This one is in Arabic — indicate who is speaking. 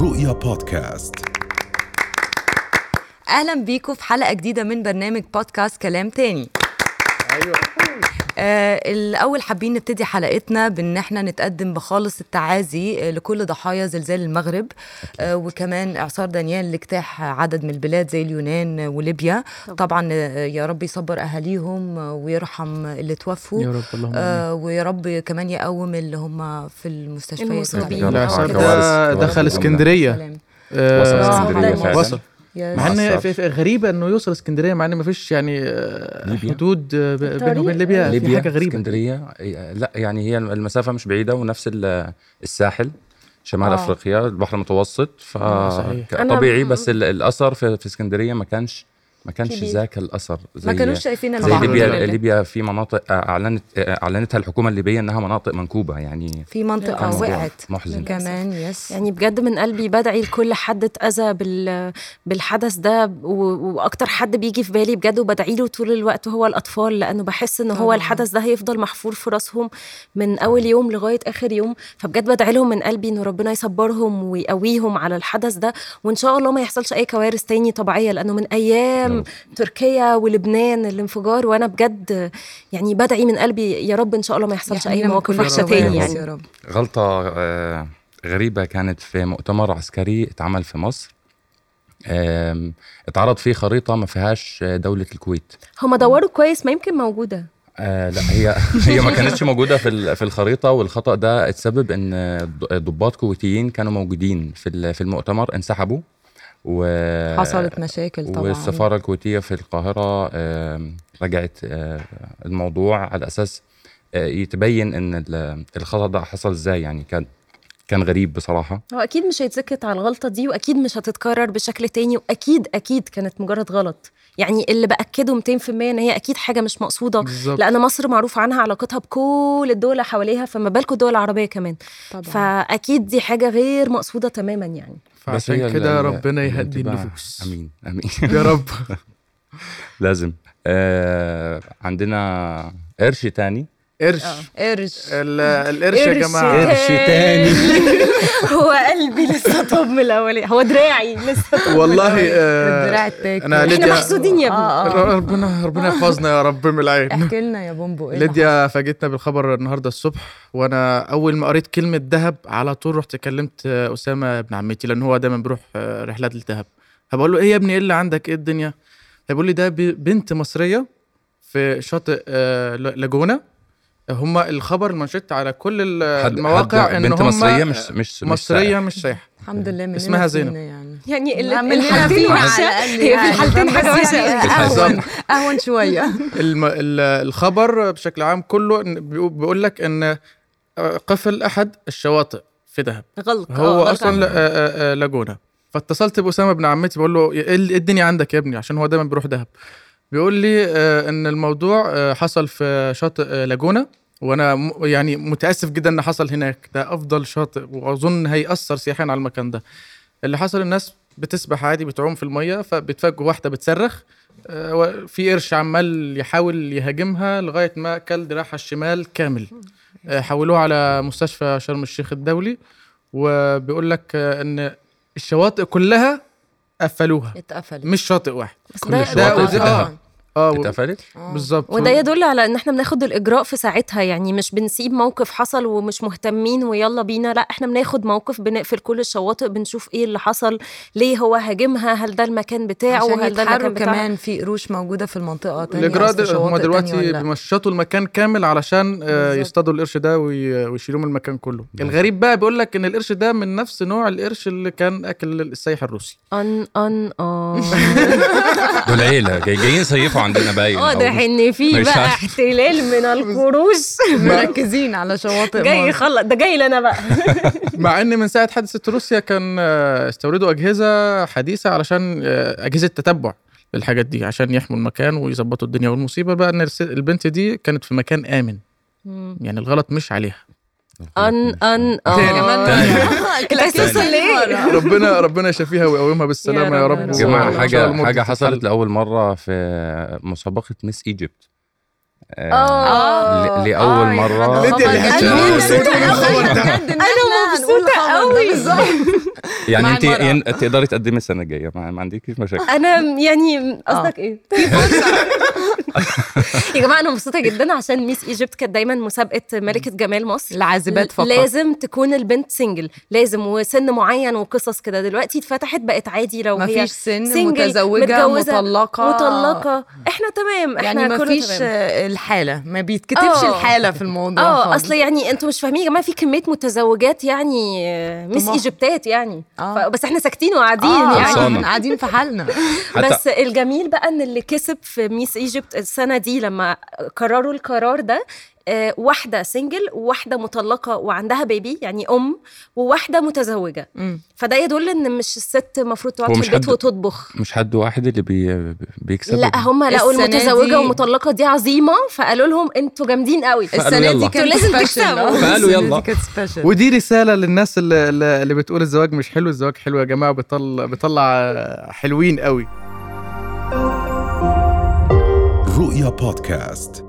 Speaker 1: رؤيا بودكاست
Speaker 2: اهلا بيكم في حلقه جديده من برنامج بودكاست كلام تاني
Speaker 3: ايوه
Speaker 2: آه، الاول حابين نبتدي حلقتنا بان احنا نتقدم بخالص التعازي آه، لكل ضحايا زلزال المغرب آه، وكمان اعصار دانيال لاجتاح عدد من البلاد زي اليونان وليبيا طبعا آه، يا رب يصبر اهاليهم آه، ويرحم اللي توفوا
Speaker 3: يا رب اللهم آمين.
Speaker 2: آه، ويا رب كمان يقوم اللي هم في المستشفيات
Speaker 4: المصابين.
Speaker 2: والحاجات
Speaker 4: لا،
Speaker 2: دي.
Speaker 4: عارف
Speaker 3: العساكر
Speaker 4: كوارث-
Speaker 3: ده
Speaker 4: كوارث
Speaker 3: دخل
Speaker 4: الأمة.
Speaker 3: اسكندريه
Speaker 2: سلام.
Speaker 3: آه،
Speaker 4: وصل
Speaker 2: اسكندرية
Speaker 4: فعلا.
Speaker 3: وصل
Speaker 2: يا
Speaker 3: مع ان
Speaker 4: حصل.
Speaker 3: في- في- غريبه انه يوصل اسكندريه مع ان ما فيش يعني آه،
Speaker 4: ليبيا.
Speaker 3: حدود آه، ب- بينه وبين
Speaker 4: طريق-
Speaker 3: ليبيا في
Speaker 4: ليبيا
Speaker 3: حاجه غريبه
Speaker 4: اسكندريه إيه، لا يعني هي المسافه مش بعيده ونفس ال- الساحل شمال
Speaker 2: آه.
Speaker 4: آه. افريقيا البحر المتوسط ف
Speaker 3: آه، صحيح.
Speaker 4: ك- طبيعي بس ال- الاثر في, في اسكندريه ما كانش ما كانش
Speaker 2: كبير.
Speaker 4: ذاك الاثر زي
Speaker 2: ما كانوش شايفين
Speaker 4: زي
Speaker 3: طبعاً.
Speaker 4: ليبيا
Speaker 2: اللي-
Speaker 4: ليبيا في مناطق آه، اعلنت اعلنتها الحكومه الليبيه انها مناطق منكوبه يعني
Speaker 2: في منطقه
Speaker 4: الموضوع
Speaker 2: وقعت
Speaker 4: محزن.
Speaker 2: كمان يس
Speaker 5: يعني بجد من قلبي بدعي لكل حد اتأذى بال... بالحدث ده و... واكتر حد بيجي في بالي بجد وبدعي له طول الوقت هو الاطفال لانه بحس ان هو
Speaker 2: طبعاً.
Speaker 5: الحدث ده هيفضل محفور في راسهم من اول يوم لغايه اخر يوم فبجد بدعي لهم من قلبي انه ربنا يصبرهم ويقويهم على الحدث ده وان شاء الله ما يحصلش اي كوارث تاني طبيعيه لانه من
Speaker 2: آه.
Speaker 5: ايام تركيا ولبنان الانفجار وانا بجد يعني بدعي من قلبي يا رب ان شاء الله ما يحصلش اي
Speaker 2: يحمينا يعني من كل
Speaker 5: مواقف وحشه
Speaker 2: الكوارث
Speaker 5: تاني يعني
Speaker 2: يا رب
Speaker 4: غلطة آه، غريبة كانت في مؤتمر عسكري اتعمل في مصر آم، اتعرض فيه خريطة ما فيهاش آه، دولة الكويت
Speaker 5: هما دوروا كويس ما يمكن موجوده
Speaker 4: آه لا هي هي ما كانتش موجودة في ال- في الخريطة والخطأ ده اتسبب ان آه، ض- ضباط كويتيين كانوا موجودين في ال- في المؤتمر انسحبوا و
Speaker 2: حصلت مشاكل طبعا
Speaker 4: والسفارة الكويتية في القاهرة آم، رجعت آه، الموضوع على أساس آه، يتبين ان ال- الخطأ ده حصل ازاي يعني كان كان غريب بصراحة
Speaker 5: هو اكيد مش هيتسكت على الغلطه دي واكيد مش هتتكرر بشكل تاني واكيد اكيد كانت مجرد غلط يعني اللي باكده 200% ان هي اكيد حاجه مش مقصوده
Speaker 3: بالظبط
Speaker 5: لان مصر معروف عنها علاقتها بكل الدول اللي حواليها فما بالكم الدول العربيه كمان
Speaker 2: طبعا
Speaker 5: فاكيد دي حاجه غير مقصوده تماما يعني
Speaker 4: بس هي
Speaker 3: فعشان
Speaker 4: ال-
Speaker 3: كده
Speaker 4: ال-
Speaker 3: ربنا يهدي
Speaker 4: الانتباه.
Speaker 3: النفوس
Speaker 4: امين امين
Speaker 3: يا رب
Speaker 4: لازم آه عندنا قرش تاني آه.
Speaker 3: قرش
Speaker 2: قرش
Speaker 3: ال- القرش يا
Speaker 5: قرش
Speaker 3: جماعه
Speaker 4: تاني.
Speaker 5: هو قلبي لسه طب من الاولاني هو دراعي لسه طب من
Speaker 3: والله
Speaker 5: الأولاني.
Speaker 3: آه،
Speaker 2: الدراع التاكل
Speaker 3: أنا
Speaker 5: احنا
Speaker 3: ليديا-
Speaker 5: محسودين يا ابني
Speaker 2: آه، آه.
Speaker 3: ربنا ربنا يحفظنا يا رب من العين
Speaker 2: احكي لنا يا بومبو ايه اللي
Speaker 3: ليديا فاجئتنا بالخبر النهارده الصبح وانا اول ما قريت كلمه دهب على طول رحت كلمت آه، اسامه ابن عمتي لان هو دايما بيروح آه، رحلات للدهب فبقول له ايه يا ابني ايه اللي عندك ايه الدنيا هيقول لي ده ب- بنت مصريه في شاطئ آه، ل- لاجونا هما الخبر المنشط على كل ال-
Speaker 4: حد-
Speaker 3: المواقع
Speaker 4: حد-
Speaker 3: ان
Speaker 4: بنت
Speaker 3: هم
Speaker 4: مصرية مش مش مش
Speaker 3: مصريه مش سايحه
Speaker 2: حصل؟ الحمد لله من
Speaker 3: اسمها زينب.
Speaker 2: يعني
Speaker 5: يعني اللي
Speaker 2: عملنا
Speaker 5: الحالتين
Speaker 2: فيها على
Speaker 5: وحشه
Speaker 2: الأقل
Speaker 5: هي في
Speaker 2: يعني.
Speaker 5: الحالتين حاجه
Speaker 2: بس
Speaker 5: وحشه
Speaker 2: يعني
Speaker 5: قوي.
Speaker 2: اهون اهون شويه
Speaker 3: الم... ال- الخبر بشكل عام كله إن- بيقو- بيقول لك ان قفل احد الشواطئ في دهب
Speaker 5: غلط
Speaker 3: هو
Speaker 5: آه،
Speaker 3: اصلا لا- آه، آه، لاجونا فاتصلت باسامه ابن عمتي بقول له ايه ال- إيه الدنيا عندك يا ابني عشان هو دايما بيروح دهب بيقول لي آه، ان الموضوع آه، حصل في شاطئ آه، لاجونا وانا م- يعني متاسف جدا ان حصل هناك ده افضل شاطئ واظن هيأثر سياحيا على المكان ده اللي حصل الناس بتسبح عادي بتعوم في الميه فبتفاجئوا واحده بتصرخ آه، وفي قرش عمال يحاول يهاجمها لغايه ما كل دراعها الشمال كامل آه، حولوه على مستشفى شرم الشيخ الدولي وبيقول لك آه، ان الشواطئ كلها قفلوها
Speaker 2: اتقفلت
Speaker 3: مش شاطئ واحد
Speaker 5: بس
Speaker 4: كل
Speaker 5: ده-
Speaker 4: الشواطئ
Speaker 5: ده-
Speaker 3: بتاعها.
Speaker 5: آه.
Speaker 3: اه و-
Speaker 4: اتقفلت
Speaker 2: آه.
Speaker 3: بالظبط
Speaker 5: وده يدل على ان احنا بناخد الاجراء في ساعتها يعني مش بنسيب موقف حصل ومش مهتمين ويلا بينا لا احنا بناخد موقف بنقفل كل الشواطئ بنشوف ايه اللي حصل ليه هو هاجمها هل ده المكان بتاعه
Speaker 2: عشان
Speaker 5: هل ده
Speaker 2: يتحروا
Speaker 5: المكان بتاعه
Speaker 2: كمان في قروش موجوده في المنطقه تانية
Speaker 3: الاجراء
Speaker 2: أو في
Speaker 3: ده هم
Speaker 2: شواطئ تانية
Speaker 3: دلوقتي
Speaker 2: ولا لأ.
Speaker 3: بيمشطوا المكان كامل علشان آه،
Speaker 2: بالظبط.
Speaker 3: يصطادوا القرش ده وي- ويشيلوه من المكان كله
Speaker 4: بالظبط.
Speaker 3: الغريب بقى بيقول لك ان القرش ده من نفس نوع القرش اللي كان اكل السيح الروسي
Speaker 5: ان ان اه
Speaker 4: دول عيله جاي جايين يصيفوا عندنا باين
Speaker 2: اه،
Speaker 5: واضح ان في
Speaker 4: مش
Speaker 5: بقى
Speaker 4: عارف.
Speaker 5: احتلال من القروش
Speaker 2: مركزين على شواطئ
Speaker 5: جاي
Speaker 2: مصر.
Speaker 5: يخلص ده جاي لنا بقى
Speaker 3: مع ان من ساعه حادثه روسيا كان آه، استوردوا اجهزه حديثه علشان آه، اجهزه تتبع للحاجات دي عشان يحموا المكان ويظبطوا الدنيا والمصيبه بقى ان الس- البنت دي كانت في مكان امن يعني الغلط مش عليها
Speaker 5: ان ان
Speaker 3: تاني.
Speaker 5: اه الاساس
Speaker 4: تاني.
Speaker 5: ليه
Speaker 3: ربنا ربنا يشفيها ويقومها بالسلامه يا
Speaker 5: يا
Speaker 3: رب
Speaker 5: رب.
Speaker 4: يا جماعه
Speaker 3: وإن شاء الله
Speaker 4: حاجه
Speaker 3: المدة
Speaker 4: حاجه حصلت
Speaker 3: تتحل.
Speaker 4: لاول مره في مسابقه ميس ايجيبت
Speaker 2: اه،
Speaker 4: آه، ل- لأول
Speaker 2: آه، يا
Speaker 4: مرة.
Speaker 2: حدا
Speaker 4: ليديا
Speaker 2: خبر
Speaker 1: اللي
Speaker 2: جد.
Speaker 1: حكت
Speaker 2: أنا
Speaker 1: لنا
Speaker 2: مبسوطة
Speaker 1: الصوت المخور
Speaker 2: أوي.
Speaker 1: ده.
Speaker 2: بجد إن إحنا هنقول الخبر ده
Speaker 5: أنا مبسوطة أوي.
Speaker 2: بالظبط.
Speaker 4: يعني
Speaker 2: مع
Speaker 4: انت
Speaker 2: المرأة.
Speaker 4: ين- تقدري تقدمي السنه الجايه ما, ما عندكيش مشاكل
Speaker 5: انا يعني
Speaker 2: آه.
Speaker 5: قصدك ايه يا جماعه انا مبسوطه جدا عشان ميس ايجيبت كانت دايما مسابقه ملكه جمال مصر
Speaker 2: العازبات فقط
Speaker 5: لازم تكون البنت سنجل لازم وسن معين وقصص كده دلوقتي اتفتحت بقت عادي لو هي
Speaker 2: مفيش سن
Speaker 5: single،
Speaker 2: متزوجه
Speaker 5: متجوزة،
Speaker 2: مطلقه
Speaker 5: مطلقه احنا تمام احنا
Speaker 2: يعني
Speaker 5: كله
Speaker 2: مفيش
Speaker 5: تمام.
Speaker 2: آه، الحاله ما بيتكتبش
Speaker 5: آه.
Speaker 2: الحاله في الموضوع
Speaker 5: اه
Speaker 2: خالص.
Speaker 5: اصل يعني انتوا مش فاهمين يا جماعه في كميه متزوجات يعني آه، ميس
Speaker 2: طموح.
Speaker 5: ايجيبتات يعني
Speaker 2: آه.
Speaker 5: ف- بس احنا ساكتين وقاعدين
Speaker 2: آه،
Speaker 5: يعني
Speaker 4: خلصانة.
Speaker 2: يعني قاعدين في حالنا
Speaker 4: حتى-
Speaker 5: بس الجميل بقى ان اللي كسب في ميس ايجيبت السنه دي لما قرروا القرار ده آه، واحده سنجل وواحده مطلقه وعندها بيبي يعني ام وواحده متزوجه
Speaker 2: مم.
Speaker 5: فده يدل ان مش الست المفروض تقعد
Speaker 4: هو
Speaker 5: في
Speaker 4: مش
Speaker 5: البيت
Speaker 4: حد-
Speaker 5: وتطبخ
Speaker 4: مش حد واحد اللي بي بيكسب
Speaker 5: لا هم لقوا
Speaker 2: السنة دي-
Speaker 5: المتزوجه والمطلقه دي عظيمه فقالوا لهم انتوا جامدين قوي
Speaker 4: فقالوا
Speaker 2: السنه
Speaker 4: يلا.
Speaker 2: دي كانت
Speaker 5: لازم
Speaker 2: special.
Speaker 5: تكسبوا.
Speaker 2: آه،
Speaker 4: فقالوا
Speaker 2: السنة
Speaker 4: يلا.
Speaker 2: دي كانت special.
Speaker 3: ودي رساله للناس اللي, اللي بتقول الزواج مش حلو الزواج حلو يا جماعه بيطلع بيطلع حلوين قوي
Speaker 1: رؤيا بودكاست